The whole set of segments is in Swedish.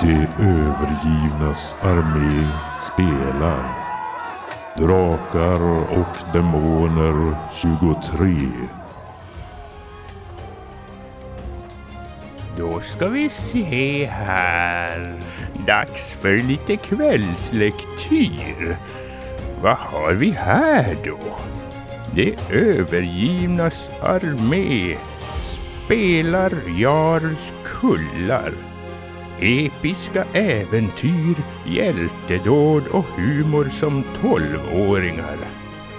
De övergivnas armé spelar. Drakar och demoner 23. Då ska vi se här. Dags för lite kvällslektyr. Vad har vi här då? Det övergivnas armé spelar Jarls kullar. Episka äventyr, hjältedåd och humor som tolvåringar.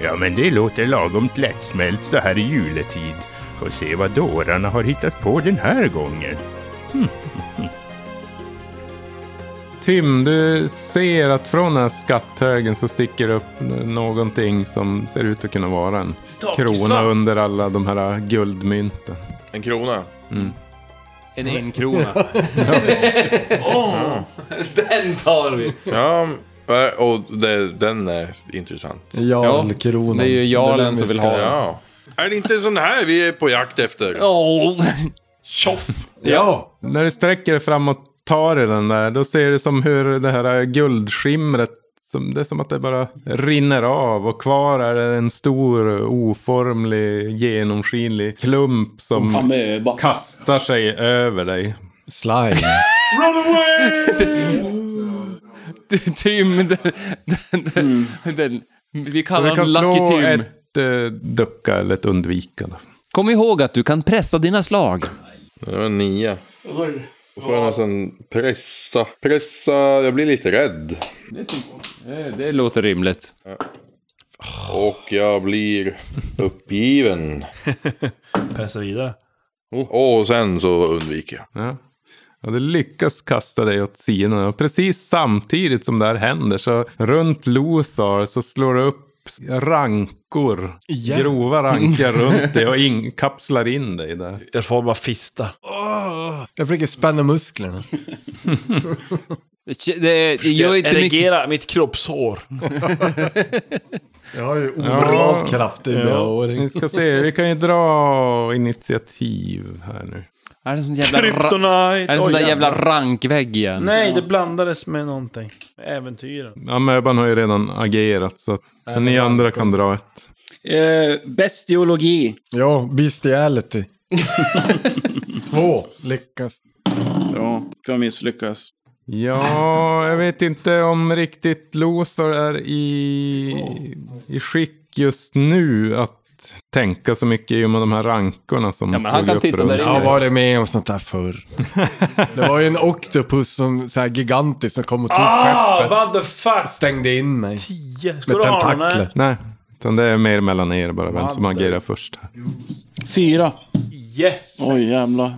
Ja, men det låter lagom lättsmält så här i juletid. Får se vad dårarna har hittat på den här gången. Tim, du ser att från den här skatthögen så sticker upp någonting som ser ut att kunna vara en krona Taksvamp. under alla de här guldmynten. En krona. En enkrona. Åh, den tar vi! Ja, eh, och det, den är intressant. Jarlkronan. Det är ju jarlen Lennys som vill ha den. Ja. Är det inte en sån här vi är på jakt efter? Åh. Tjoff! Ja! När du sträcker dig fram och tar i den där, då ser du som hur det här guldskimret, som, det är som att det bara rinner av och kvar är det en stor oformlig genomskinlig klump som Amöba. kastar sig över dig. Slime. Tim. Den, den, Mm. den, vi kallar Du honom kan Lucky slå Tim. ett eh, ducka eller ett undvika. Då. Kom ihåg att du kan pressa dina slag. Det var nio. Då får jag nästan pressa. Pressa, jag blir lite rädd. Det låter rimligt. Och jag blir uppgiven. Pressa vidare. Och sen så undviker jag. Ja. Ja, du lyckas kasta dig åt sidan och precis samtidigt som det här händer så runt Lothar så slår det upp rankor. Grova rankor runt dig och in, kapslar in dig där. Jag får bara fista. Jag försöker spänna musklerna. Det, det, det gör inte mycket. Erigera mitt kroppshår. Jag har ju onormal kraft i mina Vi år. ska se, vi kan ju dra initiativ här nu. Är det sån jävla, ra- Kryptonite! är det Oj, sån där jävlar. jävla rankvägg igen? Nej, det blandades med någonting. Äventyren. Amöban har ju redan agerat så att men ni andra kan dra ett. Eh, bestiologi. Ja, bestiality. Två lyckas. Ja, jag misslyckas. Ja, jag vet inte om riktigt Lothar är i, i skick just nu att tänka så mycket i och med de här rankorna som Ja, men han slog kan upp titta runt. där inne. Ja, Jag har varit med om sånt där förr. Det var ju en oktopus som så här gigantisk som kom och tog Ah, skeppet. what the fuck! Stängde in mig. Tio! Ska Med du ha den tentakler. här? Nej, utan det är mer mellan er bara vem som agerar först. här. Fyra. Yes! Oj, jävlar.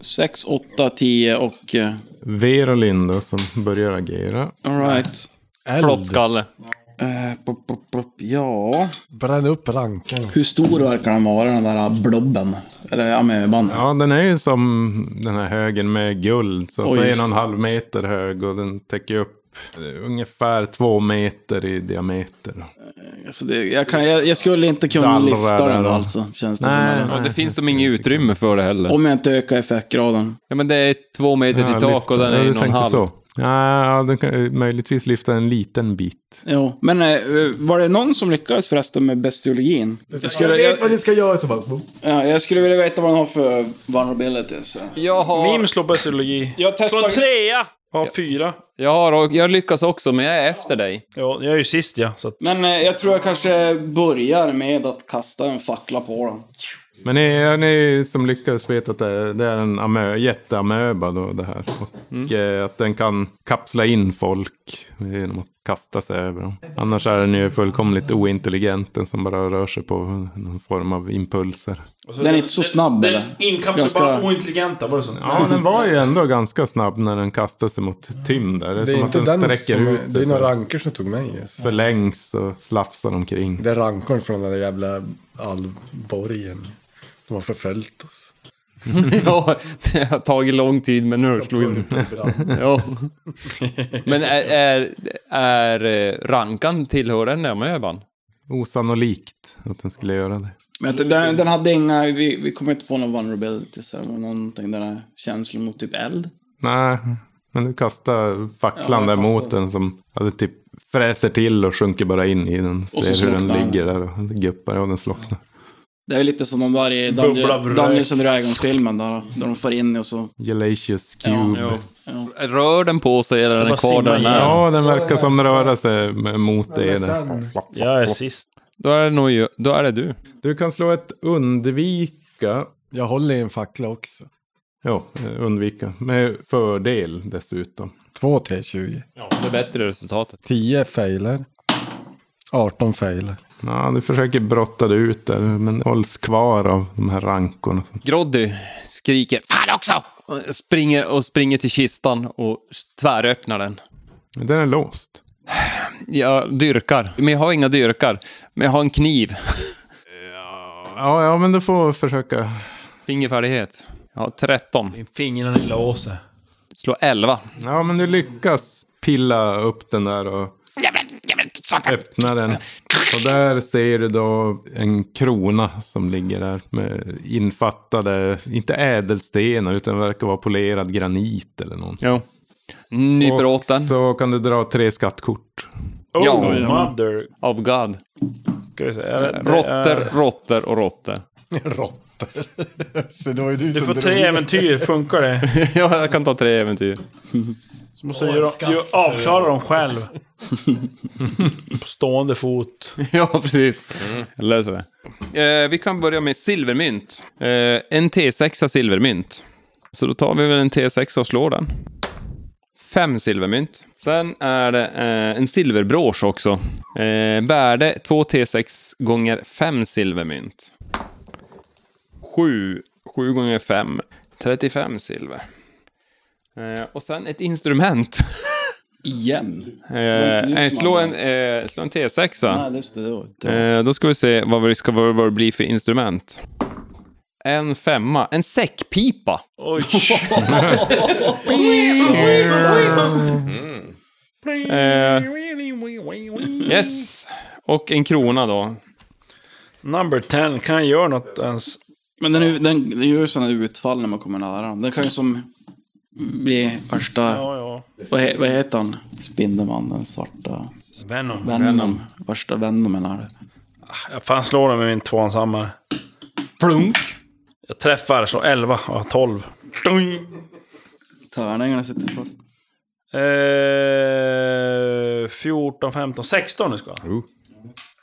Sex, åtta, tio och... eh, Vera och Linda som börjar agera. all right. Eld. Flottskalle. Eh, pop, pop, pop. Ja... Bränn upp rankan. Hur stor verkar den vara, den där blobben? Eller amöban? Ja, den är ju som den här högen med guld. Så Oj. så är en och en halv meter hög och den täcker upp eh, ungefär två meter i diameter. Alltså det, jag, kan, jag, jag skulle inte kunna Dallrar lyfta den där, då, va? alltså, känns det Nej. som. Ja, det finns som inget utrymme för det heller. Om jag inte ökar effektgraden. Ja, men det är två meter till tak och den är ja, ju du någon tänkte halv. så. Ja, den kan eh, möjligtvis lyfta en liten bit. Jo. Men eh, var det någon som lyckades förresten med bestiologin? Jag skulle, jag vet jag, vad ni ska göra. Så bara, ja, jag skulle vilja veta vad den har för vulnerability. Så. Jag har, Mim slår bestiologi. Jag Slår testar... trea! Har fyra. jag har, jag lyckas också, men jag är efter dig. Ja, jag är ju sist ja, så att... Men eh, jag tror jag kanske börjar med att kasta en fackla på den. Men ni, ni som lyckades vet att det, det är en amö, jätteamöba då det här. Och Mm. eh, att den kan kapsla in folk genom att kasta sig över dem. Annars är den ju fullkomligt ointelligent. Den som bara rör sig på någon form av impulser. Den är inte så snabb Den eller? inkapslar Ganska- bara ointelligenta, var det så? Ja, den var ju ändå ganska snabb när den kastade sig mot Tim där. Det är, Det är som att inte den, den som... sträcker ut sig. Det är så några rankor som tog mig. just. Förlängs och slafsar omkring. Det är rankorn från den där jävla alvborgen. De har förföljt oss. Mm. Ja, det har tagit lång tid, men nu slog det. Mm. Ja. Men är, är, är eh, rankan tillhör den där amöban? Osannolikt att den skulle göra det. Men att den, den hade inga... Vi, vi kommer inte på någon vulnerability. Så här, men någonting där känslan mot typ eld. Nej, Men du kastar facklan Ja, där jag mot kastar. den som ja, det typ fräser till och sjunker bara in i den. så Ser hur den slocknar den. ligger där och guppar och den slocknar. Det är lite som de där i Bubbla av Dungeon- rök. Dungeons and Dragons-filmen där, där de får in och så... Gelacious Cube. Ja, Ja. Rör den på sig eller är den bara kvar där den simmar är? igenom. den verkar som röra sig med- mot Men dig. sen- där. Jag är sist. Då är det nog ju- då är det du. Du kan slå ett undvika. Jag håller i en fackla också. Ja, eh, undvika. Med fördel dessutom. Två T20. Det bättre resultatet. 10 failer. 18 failer. Ja, du försöker brotta dig ut där, men hålls kvar av de här rankorna. Groddy skriker Fan också! Och Springer och springer till kistan och tväröppnar den. Men Den är låst. Jag dyrkar, men jag har inga dyrkar. Men jag har en kniv. Ja, ja, men du får försöka. Fingerfärdighet. Jag har 13. Fingrarna i låset. Slå 11. Ja, men du lyckas pilla upp den där och öppna den. Och där ser du då en krona som ligger där med infattade, inte ädelstenar, utan verkar vara polerad granit eller någonting. Jo. Nyper Och åt den. så kan du dra tre skattkort. Oh, Ja. mother. Of God. Ska vi säga. Det är- Råttor, råttor och råttor. Råttor. Så det var ju du, Du som får drog tre in. äventyr, funkar det? ja, jag kan ta tre äventyr. Så måste du göra, göra, avklara dem själv. På stående fot. ja, precis. Jag löser det. Eh, vi kan börja med silvermynt. Eh, en T6 silvermynt. Så då tar vi väl en T6 och slår den. Fem silvermynt. Sen är det eh, en silverbrås också. Eh, värde 2 T6 gånger 5 silvermynt. 7. 7 gånger 5. 35 silver. Eh, och sen ett instrument. Igen? Eh, du nej, som slå, en, hade eh, slå en T6. Nej, just det. det var inte- Eh, då ska vi se vad det, ska, vad det blir för instrument. En femma. En säckpipa. Oj! Eh, yes. Och en krona då. Number 10, kan jag göra något ens? Men den, är ju- den, den gör ju sådana utfall när man kommer nära den. Den kan ju som bli värsta... Ja, ja. Vad, he, vad heter han? Spindelmannen, den svarta... Venom. Venom. Värsta Venomen är det. Jag fan slår den med min tvåhandshammare. Plunk. Jag träffar, så 11 ja 12. Dung. Tärningarna sitter fast. Eh, 14, 15, 16 nu ska jag.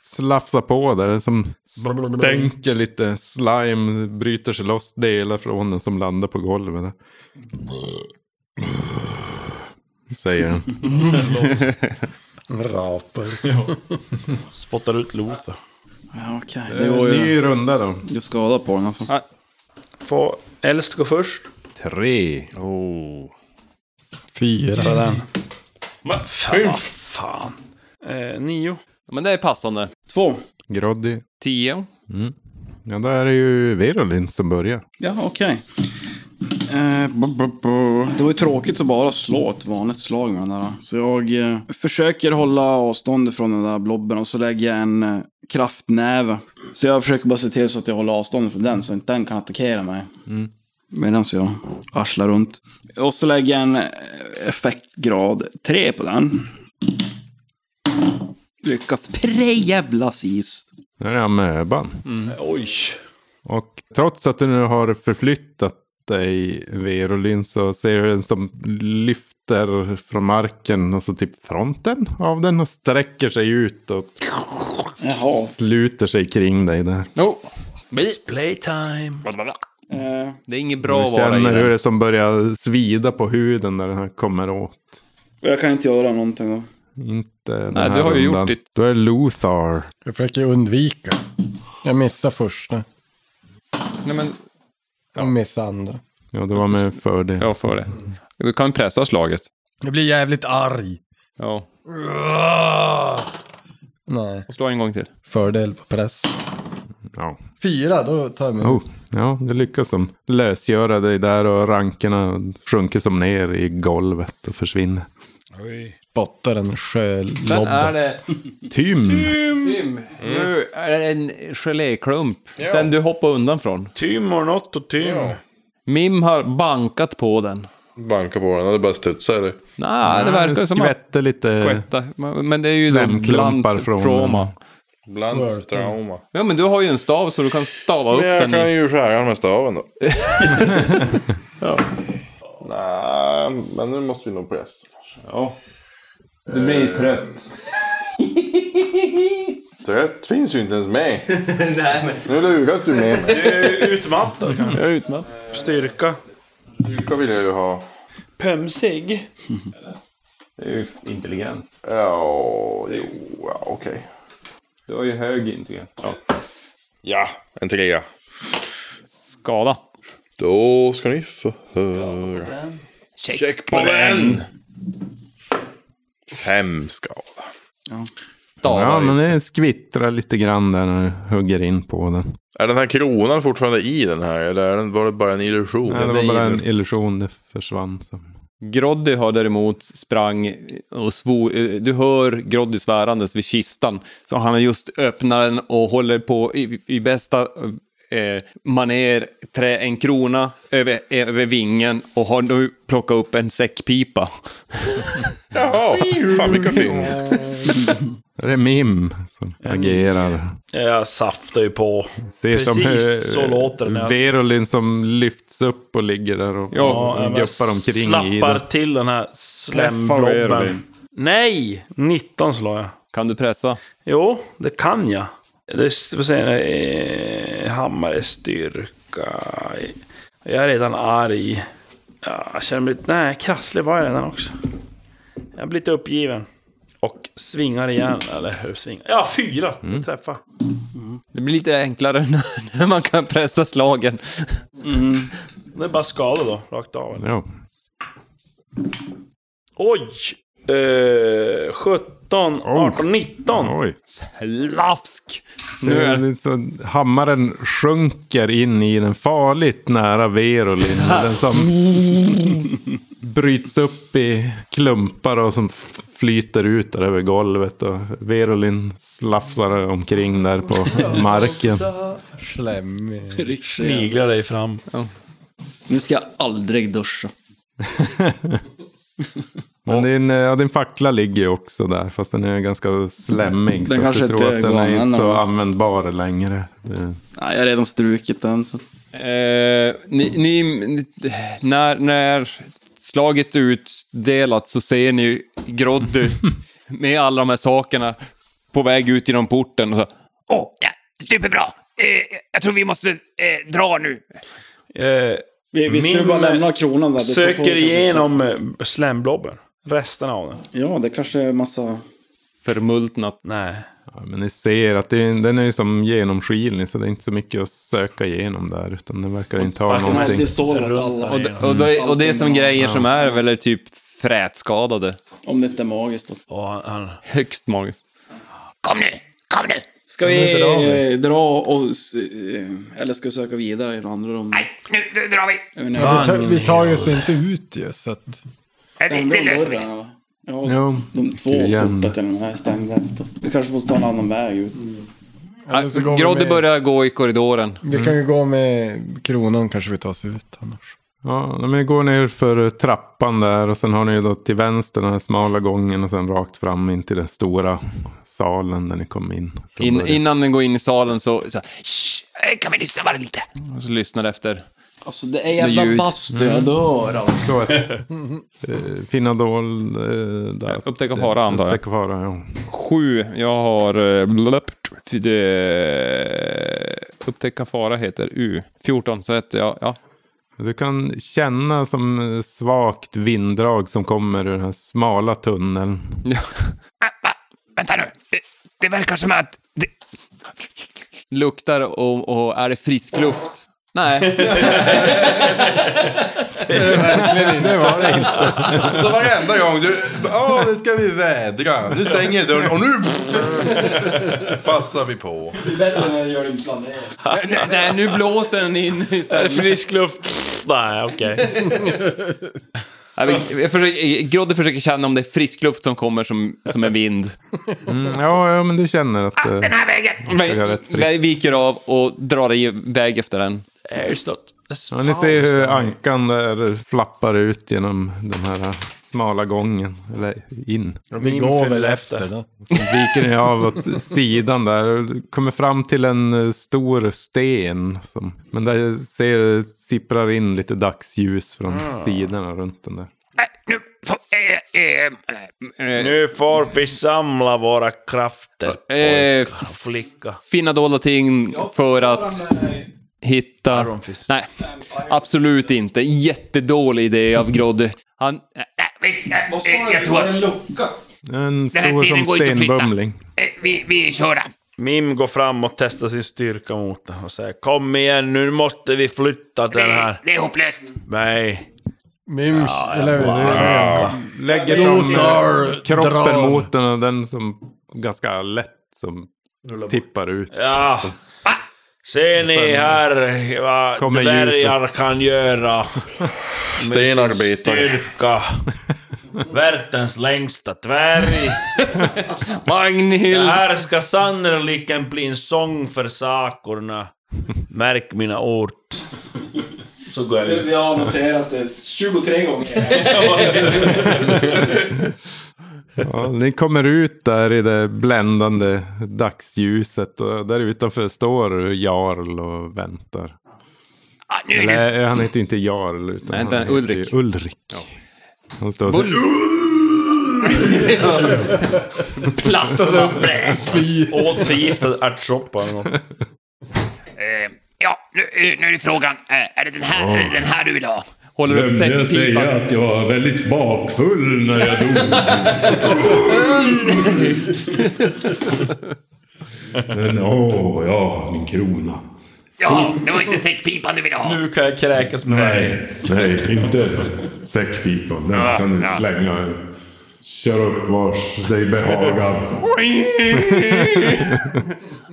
Slafsa på där, det som stänker lite slime, bryter sig loss delar från den som landar på golvet. Där. Säger den. Spottar ut lot. Ja, okej. Det Det var ju... Ny runda då. Du skadade på den alltså. i alla fall. Får äldst gå först? Tre. Oh. Fyra. Ta den. Men fan, vad fan. Eh, nio. Men det är passande. Två. Groddy. Tio. Ja, då är det ju Verolin som börjar. Ja, okej. Eh, bu- bu- bu. Det var ju tråkigt att bara slå ett vanligt slag med den där. Så jag eh, försöker hålla avstånd från den där blobben och så lägger jag en eh, kraftnäve. Så jag försöker bara se till så att jag håller avstånd från den så inte den kan attackera mig. Medan jag arslar runt. Och så lägger jag en eh, effektgrad 3 på den. Lyckas prejävla sist. Nu är det amöban. Oj. Och trots att du nu har förflyttat dig Verolin så ser du den som lyfter från marken, alltså typ fronten av den och sträcker sig ut och Jaha. sluter sig kring dig där. Oh. Playtime. Eh, Det är inget Du bra vara i känner hur den. det som börjar svida på huden när den här kommer åt. jag kan inte göra någonting då. Inte den Nej, här du har ju rundan. gjort ditt- Då är det Lothar. Jag försöker undvika. Jag missar första. Nej, men Jag missar andra. Ja, du var med fördel. jag får det. Du kan pressa slaget. Jag blir jävligt arg. Ja. Nej. Och slå en gång till. Fördel på press. Ja. Fyra, då tar jag mig. Oh, ja, det lyckas som lösgöra dig där och rankerna sjunker som ner i golvet och försvinner. Oj. Spottar en Sen är sjölobba. det... Tym! Tim, nu är det en geléklump. Den du hoppade undan från. Tymor något och tym. Mim har bankat på den. banka på den. Det bara studsa eller? Nej, det verkar som att... skvätter lite. Skvätta. Men det är ju då Slemklumpar bland från- trauma. Bland trauma. Ja, men du har ju en stav så du kan stava upp Men jag den. kan i. ju skära den med staven då. Nej, men nu måste vi nog pressa. Du är ju trött. Trött finns ju inte ens med. Nu luras du med mig. Utmattad kanske. Jag är utmatt. Styrka. Styrka vill jag ju ha. Pömsig. Ja, jo, ja, okej. Du har ju hög intelligens. Ja. Ja, en trea. Skada. Då ska ni få höra. Check på den! Fem skada. Stavar Ja, men ju. det skvittrar lite grann där när du hugger in på den. Är den här kronan fortfarande i den här? Eller är den, var det bara en illusion? Nej, det var bara en illusion, det försvann. Så. Groddy har däremot sprang och svor. eh, Du hör Groddy svärandes vid kistan. Så han har just öppnat den och håller på i, i bästa eh, maner trä en krona över, över vingen och har nu plockat upp en säckpipa. Jaha, fan vilka fynd. Det är Mim som agerar. Jag saftar ju på. Ser som hur, Precis så låter det när jag- Verolin som lyfts upp och ligger där och Ja, jag guppar omkring i slappar den. till den här Träffar vi Erling? slemblobben. Nej! 19 slår jag. Kan du pressa? Jo, det kan jag. Det är, vad säger ni? Eh, Hammare styrka. Jag är redan arg. Ja, jag känner mig lite... Nej, krasslig var jag redan också. Jag blir lite uppgiven. Och svingar igen, eller hur svingar? Ja, fyra! Mm. Träffa. Det blir lite enklare när, när man kan pressa slagen. Det är bara skada då, rakt av. Ja. Oj! Eh, 17, 18, 19. Oj. Lafsk! Nu Det är är lite så, Eh, liksom, hammaren sjunker in i den farligt nära Verolin. den som bryts upp i klumpar och som flyter ut där över golvet. Och Verolin slafsar omkring där på marken. Slemmig. Sniglar dig fram. Nu ska jag aldrig duscha. Men din, eh, ja, din fackla ligger ju också där, fast den är ganska slemmig. så att kanske jag tror inte att den går är inte så annorlunda. användbar längre. Det- Nej, jag har redan strukit den. Så. Eh, ni, ni, ni- när, när slaget är utdelat så ser ni Groddy med alla de här sakerna på väg ut genom porten. Och så, Åh, ja, superbra! Eh, jag tror vi måste eh, dra nu. Eh, Vi, vi skulle Min- bara lämna kronan där. Det får folk söker kanske igenom eh, slemblobben. Resten av den. se. Ja, det kanske är massa... Förmultnat. Nej. Ja, men ni ser att det, är- den är ju som genomskinlig, så det är inte så mycket att söka igenom där. Utan den verkar inte ha De sparkar här någonting. ser så åt Och, alla. d- och, det, och det är som grejer som är väl är typ frätskadade. Om det inte är magiskt. Då. Och han, han, Högst magiskt. Kom nu! Kom nu! Ska vi eh, dra och... s- eh, Eller ska vi söka vidare i den andra rundan? Nu, nu drar vi. Jag vet inte, jag Vi tar ju oss inte ut ju, så att... Eh, Det, stängde det de löser vi. dörrarna, va? Ja, Jo, de två igen. portar till den här stängda efter oss. Vi kanske måste ta en annan väg ut. Eller så går vi Groddy med- börjar gå i korridoren. Vi kan ju gå med kronan kanske vi tar oss ut annars. Ja, men ni går ner för trappan där och sen har ni ju då till vänster den här smala gången och sen rakt fram in till den stora salen där ni kom in. från In, början. innan den går in i salen så, så, Shh, eh, kan vi lyssna bara lite? och så lyssnar efter. Alltså det är Det ljud. jävla bastu, jag dör alltså. Slå ett eh, Finadol eh, där. Upptäcka fara, antar jag. Upptäcka fara, ja. Sju. Jag har... eh, blablabla, det- Upptäcka fara heter U. 14, så heter jag... Ja. Du kan känna som eh, svagt vinddrag som kommer ur den här smala tunneln. Ja. Ah, va? Vänta nu. Det, det verkar som att... Det, Luktar och, och är det frisk luft? Nej, Det var det inte. Så varenda gång du... Ja, nu ska vi vädra. Du stänger dörren och nu... Passar vi på. Bättre när jag gör det planerat. nej, nu blåser den in är det istället. frisk luft? Pff, Nej, okej. Jag, vill- jag försöker, Grodde försöker känna om det är frisk luft som kommer som, som en vind. Mm, ja, ja, men du känner att... eh, den här vägen. Vi, göra ett friskt. vi viker av och drar iväg efter den. Airstop. Ja, ni ser hur ankan där flappar ut genom den här smala gången. Eller in. vi Min går väl efter. efter då. Viker ni av åt sidan där. och Kommer fram till en eh, stor sten. Som, men där ser det sipprar in lite dagsljus från Ah. sidorna runt den där. Nu får... Eh, eh, eh, eh, Nu får vi samla våra krafter, Eh, pojkar och flicka. Finna dolda ting för att hitta... Ironfist. Nej, absolut inte. Jättedålig idé av Groddy. Han... eh, nej, vi- eh, eh, Jag tror att... lucka. En Den här stor stenen som går inte att flytta. stenbumling. eh, Vi, vi är körda. Mim går fram och testar sin styrka mot den och säger Kom igen nu måste vi flytta den Det, här. det är hopplöst. Nej. Mims, eller hur? Det är så. Lägger som Lothar kroppen drar. mot den och den som ganska lätt som tippar ut. Ja. Ser ni här vad Kommer dvärgar kan göra? Stenarbetare. Styrka. Världens längsta dvärg. Det Magnhild! här ska sannoliken bli en sång för sakorna. Märk mina ord. Så går jag ut. Jag har noterat det 23 gånger. Ja, ni kommer ut där i det bländande dagsljuset och där utanför står Jarl och väntar. Ah, nu är det... Eller han heter ju inte Jarl utan Nej, han den- heter ju Ulrik. Ulrik. Han står och säger, Plasma. Blä. Åt förgiftad ärtsoppa eller något. Eh, Ja, nu, eh, nu är det frågan. eh, Är det den här, är det den här du vill ha? Håller upp Glömde jag säckpipan. säga att jag var väldigt bakfull när jag dog. Men åh, ja, min krona. Ja, det var inte säckpipan du ville ha. Nu kan jag kräkas med världen. Nej, nej, inte säckpipan. Den kan du slänga. Kör upp vars dig behagar. Ah,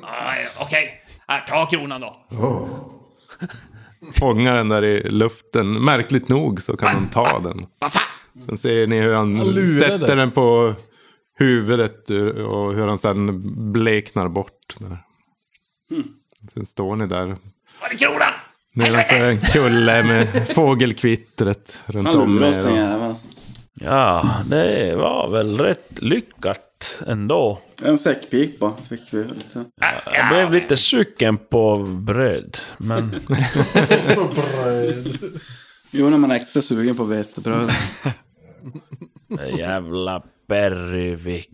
ja, Okej, här, ta kronan då. Ja. fångar den där i luften. Märkligt nog så kan han ta den. Vad fan? Sen ser ni hur han lurades. sätter den på huvudet och hur han sen bleknar bort. Där. Sen står ni där Hmm. Var det kronan? nedanför en kulle med fågelkvittret runt Han om lurar oss er. den jäveln. alltså. Ja, det var väl rätt lyckat ändå. En säckpipa fick vi. Lite. Ah, Jag blev lite sugen på bröd, men... Jo, när man är extra sugen på vetebröd. Jävla Bergvik.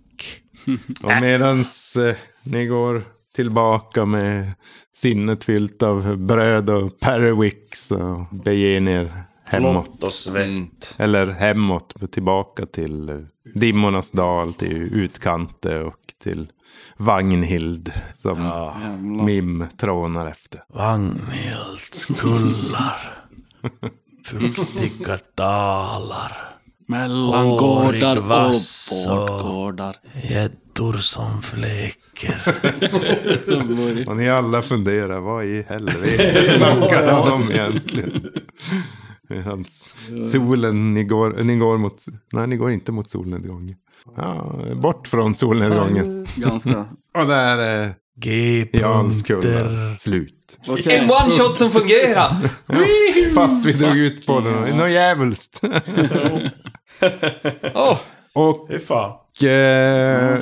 Äh. Och medans eh, ni går tillbaka med sinnet fyllt av bröd och perwick så beger ni er hemåt. Mm. Blott och svett. Eller hemåt, tillbaka till eh, Dimmornas dal, till Utkante och till Vagnhild som Mim trånar efter. Vagnhilds kullar. Fuktiga dalar. Mellan gårdar och vass och- bortgårdar. Gäddor som fläker. Och ni alla funderar, vad i helvete snackar han om egentligen? Medans solen, ni går, ni går mot, nej ni går inte mot solnedgången. Ja, bort från solnedgången. Ganska. Och där är Jans kullar slut. Okej. En one shot som fungerar! Fast vi drog ut på den. Något djävulskt. Åh. Och... Fy fan. Eh,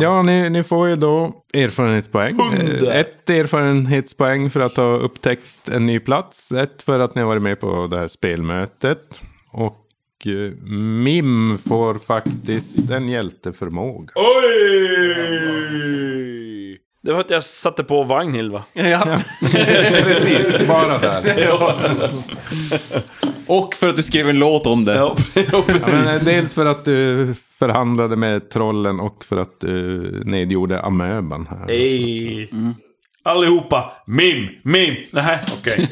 ja, ni, ni får ju då erfarenhetspoäng. Eh, Ett erfarenhetspoäng för att ha upptäckt en ny plats. Ett för att ni har varit med på det här spelmötet. Och eh, Mim får faktiskt en hjälteförmåga. Oj! Det var att jag satte på Vagnhild va? Ja. Precis, bara där. Och för att du skrev en låt om det. Ja, men, eh, dels för att du förhandlade med trollen och för att du nedgjorde amöban här. Ej. Mm. Allihopa! Mim! Mim! Nej, okej.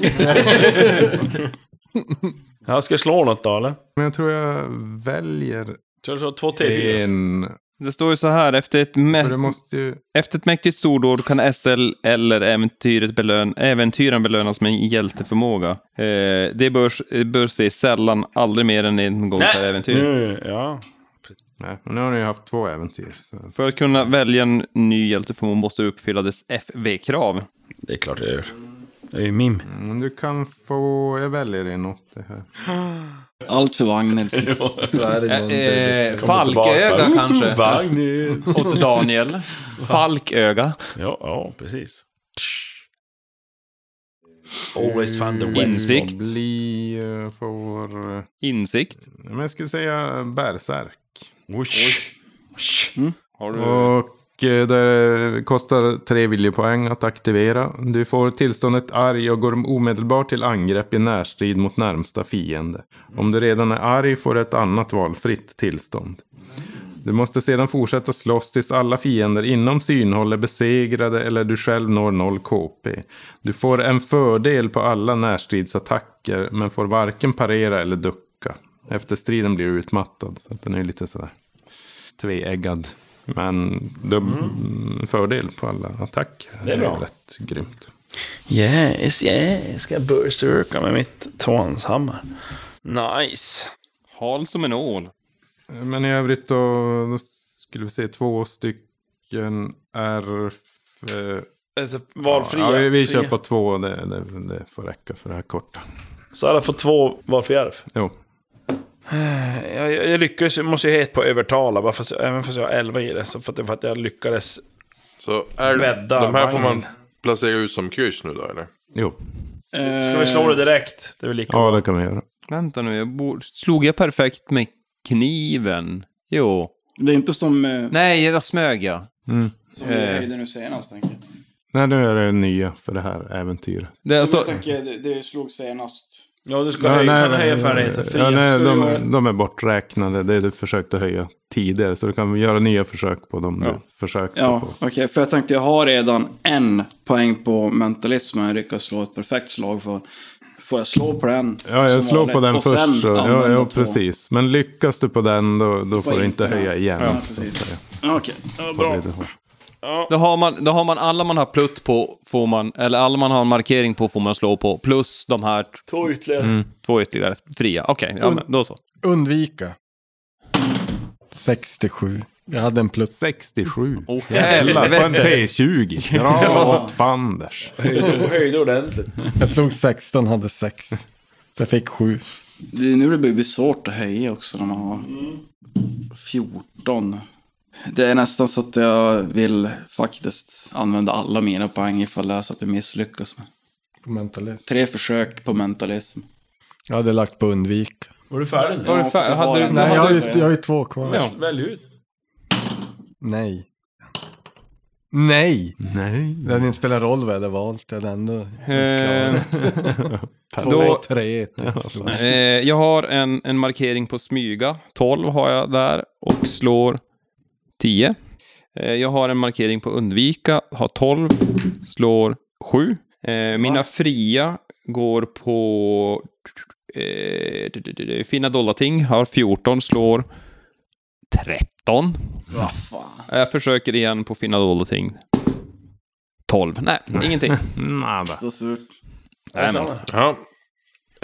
ja, ska jag slå något då eller? Men jag tror jag väljer Ska jag slå två till? fyra? en... Det står ju så här, efter ett, För du mä- måste ju... efter ett mäktigt stordåd kan SL eller äventyret belön- äventyren belönas med en hjälteförmåga. Eh, det bör, bör se sällan, aldrig mer än en gång per äventyr. Nu, ja. Nej, men nu har ni ju haft två äventyr. Så. För att kunna välja en ny hjälteförmåga måste du uppfylla dess FV-krav. Det är klart jag gör. Det är ju mim. Mm, du kan få... Jag väljer en åtta här. Allt för Vagnhild. Eh, Falköga Mm, kanske? Vagnhild. Åt Daniel. Falköga. Ja, ja, precis. Always find the wet spot. Insikt. Bli eh, får... eh, Insikt. Men jag skulle säga bärsärk. Har du... Och eh, det kostar tre viljepoäng att aktivera. Du får tillståndet arg och går omedelbart till angrepp i närstrid mot närmsta fiende. Om du redan är arg får du ett annat valfritt tillstånd. Du måste sedan fortsätta slåss tills alla fiender inom synhåll är besegrade eller du själv når 0 KP. Du får en fördel på alla närstridsattacker men får varken parera eller ducka. Efter striden blir du utmattad. Så att den är lite sådär tveeggad. Men dubb fördel på alla attacker. Mm. Det är bra. Rätt grymt. Yes, yes. Ska jag berserka med mitt tvåhandshammar. Nice. Hal som en ål. Men i övrigt då, då skulle vi se två stycken är... f- Alltså, valfria. Ja, vi, vi Fria. kör på två, det, det, det får räcka för det här korta. Så alla får två valfria arv. Jo. Jag, jag, jag lyckades, jag måste ju helt på övertala, bara fast, även fast jag har 11 i det. Så för, att, för att jag lyckades. Så är Bädda de här får man vagnen. placera ut som kryss nu då eller? Jo. Ska vi Eh, slå det direkt? Det är väl lika Ja, det kan vi göra. Vänta nu, jag borde... slog jag perfekt med kniven? Jo. Det är inte som, eh, Nej, jag smög jag. som vi höjde nu senast, tänker jag. Nej, nu är det nya för det här äventyret. Det, är alltså, Jag tänker, det, det slog senast. Ja, du ska höja, kan höja färdigheter. Fria. ja, nej, Ska vi de, göra- de är borträknade. Det du försökte höja tidigare. Så du kan göra nya försök på dem du försökte Ja, på. okej. för jag tänkte, jag har redan en poäng på mentalismen jag lyckas slå ett perfekt slag för. Får jag slå på den? Ja, jag som slår vanligt, på den och sen först. Så, ja, använda ja, två? precis. Men lyckas du på den då, då får, du inte inte. höja igen. Ja, så att precis. säga. Ja, Okej. Ja, På bra. VDH. då, har man, då har man alla man har plutt på, får man, eller alla man har en markering på får man slå på, plus de här t- Mm, Två ytterligare. två ytterligare fria. Okej, ja, men då så. Undvika. 67. Jag hade en plus. 67. Oh, Jävlar, på en helvete. T20. Dra åt fanders. Höjde, höjde ordentligt. Jag slog 16, hade 6. Så jag fick 7. Det är nu det blir svårt att höja också när man har 14. Det är nästan så att jag vill faktiskt använda alla mina poäng ifall det är så att det misslyckas. Men På mentalist. tre försök på mentalism. Jag hade lagt på undvika. Var du färdig nu? Var du fär- Ja, hade du- Nej, Nej, hade jag har du- ju, jag har ju två kvar. Ja. Välj ut. Nej. Nej! Nej. Det hade inte spelat roll vad jag hade valt. Jag hade ändå inte klarat det. Två, Eh. då- tre, typ. slog. Eh, jag har en, en markering på smyga. 12 har jag där och slår 10. Eh, jag har en markering på undvika, har 12, slår 7. Eh, mina fria går på eh, d- d- d- finna dolda ting, har 14, slår 13. Vad fan. Jag försöker igen på finna dolda ting. 12. Nej, ingenting. Nada. Så surt. Nej, men. Ja.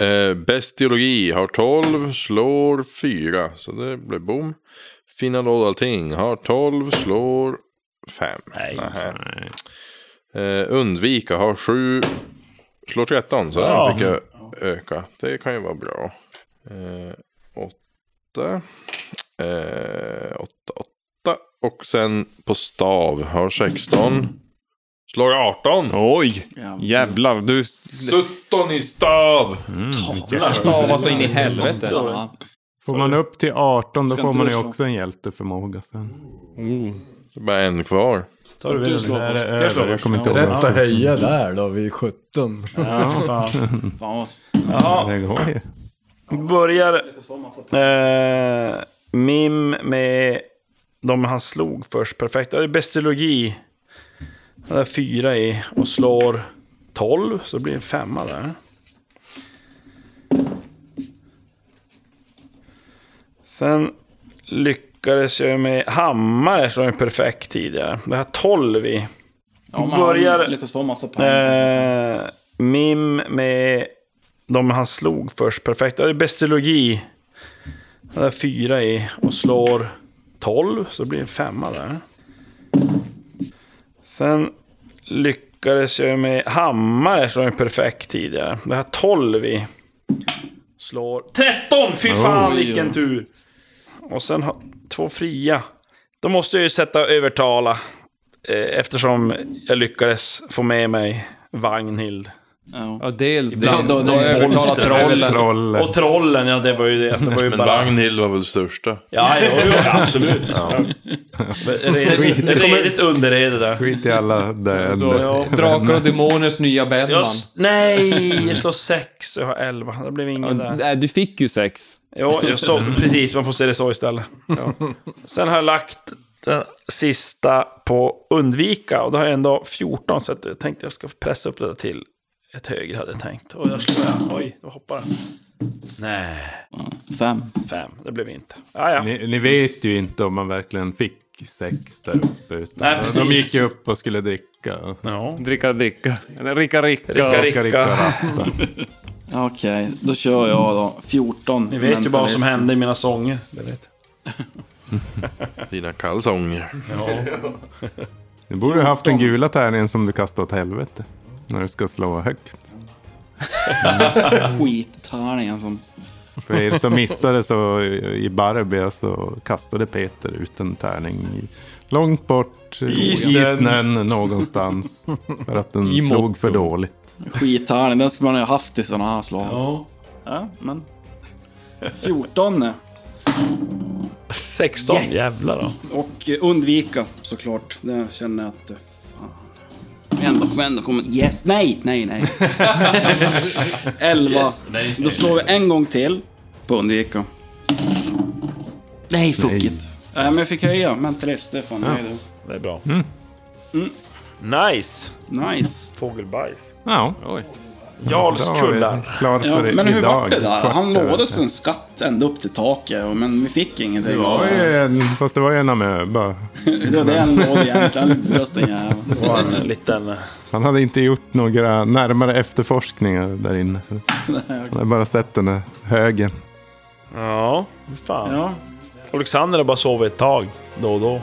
Eh, bestiologi har 12, slår 4. Så det blir bom. Finna låda allting har 12, slår 5. Nej. Eh, undvika har 7, slår 13. Så Ja. den fick jag öka. Det kan ju vara bra. Eh, 8. 8, 8. Eh, Och sen på stav har 16. Slår 18. Oj! Jävlar, du 17 i stav! stavar så in i helvete. Ja. Får man upp till 18 då Ska får inte man du ju slå? också en hjälteförmåga sen. Det är bara en kvar. Tar du vinner nu? Är det jag slå över? Jag först? kommer inte ihåg. vad jag Rätt att höja där då, vid 17. Ja, fan. Fan vad... Jaha. Det går ju. Börjar eh, Mim med de han slog först perfekt. Ja, det är Bestiologi. Han har fyra i och slår 12, så det blir en femma där. Sen lyckades jag med hammare som är perfekt tidigare. Det här 12 i. Ja, men Börjar- han lyckas få en massa poäng. Eh, Mim med de han slog först perfekt. Ja, det är Bestiologi. Han har fyra i och slår 12, så det blir en femma där. Sen lyckas lyckades jag med hammare slå en perfekt tidigare. Det här 12 i slår 13! Fy fan Oj, vilken ja. tur! Och sen har två fria. Då måste jag ju sätta övertala. eh, Eftersom jag lyckades få med mig Vagnhild. Ja. Ja, dels det. Ibland har de Och övertalat monster- trollen. Trollen. Och trollen, ja det var ju det. Alltså, det var ju Men bara... Vagnhild var väl största? Ja, jo, jo, absolut. Ja. Redigt, redigt underrede där. Skit i alla döende. Ja. Drakar och demoners nya Jag Bellman. s- nej, jag slår sex och jag har elva. Det blev ingen Ja, där. Nej, äh, du fick ju sex. Jo, jag så, precis. Man får se det så istället. Ja. Sen har jag lagt den sista på undvika och då har jag ändå 14 så att jag tänkte jag ska pressa upp det där till ett högre hade jag tänkt. Och jag slår jag. Oj, då hoppar den. Nej, Fem. fem. Det blev inte. Ah, Ja, ja. Ni, ni vet ju inte om man verkligen fick sex där uppe. Utan Nej, de- precis. de gick ju upp och skulle dricka. ja. Dricka, dricka. Eller Ricka, ricka. Ricka, Ricka, ricka, ricka. ratta. Okej, då kör jag då. 14. Ni vet ju bara vad som hände i mina sånger. Det vet. Dina kalsonger. Du borde ha haft den gula tärningen som du kastade åt helvete. När du ska slå högt. Skittärningen som... För er som missade så i Barbie så kastade Peter ut en tärning i, långt bort i snön någonstans. För att den I slog Motso. för dåligt. Skittärning, den skulle man ju ha haft i sådana här slag. Ja. Ja, men... 14 16. Yes! Jävlar då. och eh, undvika såklart. Det känner jag att... eh, Fan. Kom igen då, kom igen då, kom igen. Yes, nej, nej, nej. 11. då slår vi en gång till på undvika. Nej, fuck it. Nej, men jag fick höja. Men Therese, det är fan ja. Det är bra. Mm. Nice! Nice. Fågelbajs. Ja, Oj. då var vi Jarlskullar. klar för Ja, men hur idag. var det där? Kvart Han över lovades en skatt ända upp till taket, och- men vi fick ingenting. Det var ju en, fast det var ju en amöba. Det var det han lovade egentligen. Just den jäveln. Det var en liten... Han hade inte gjort några närmare efterforskningar där inne. Han hade bara sett den där högen. Ja, fan. Ja. Alexander har bara sovit ett tag då och då.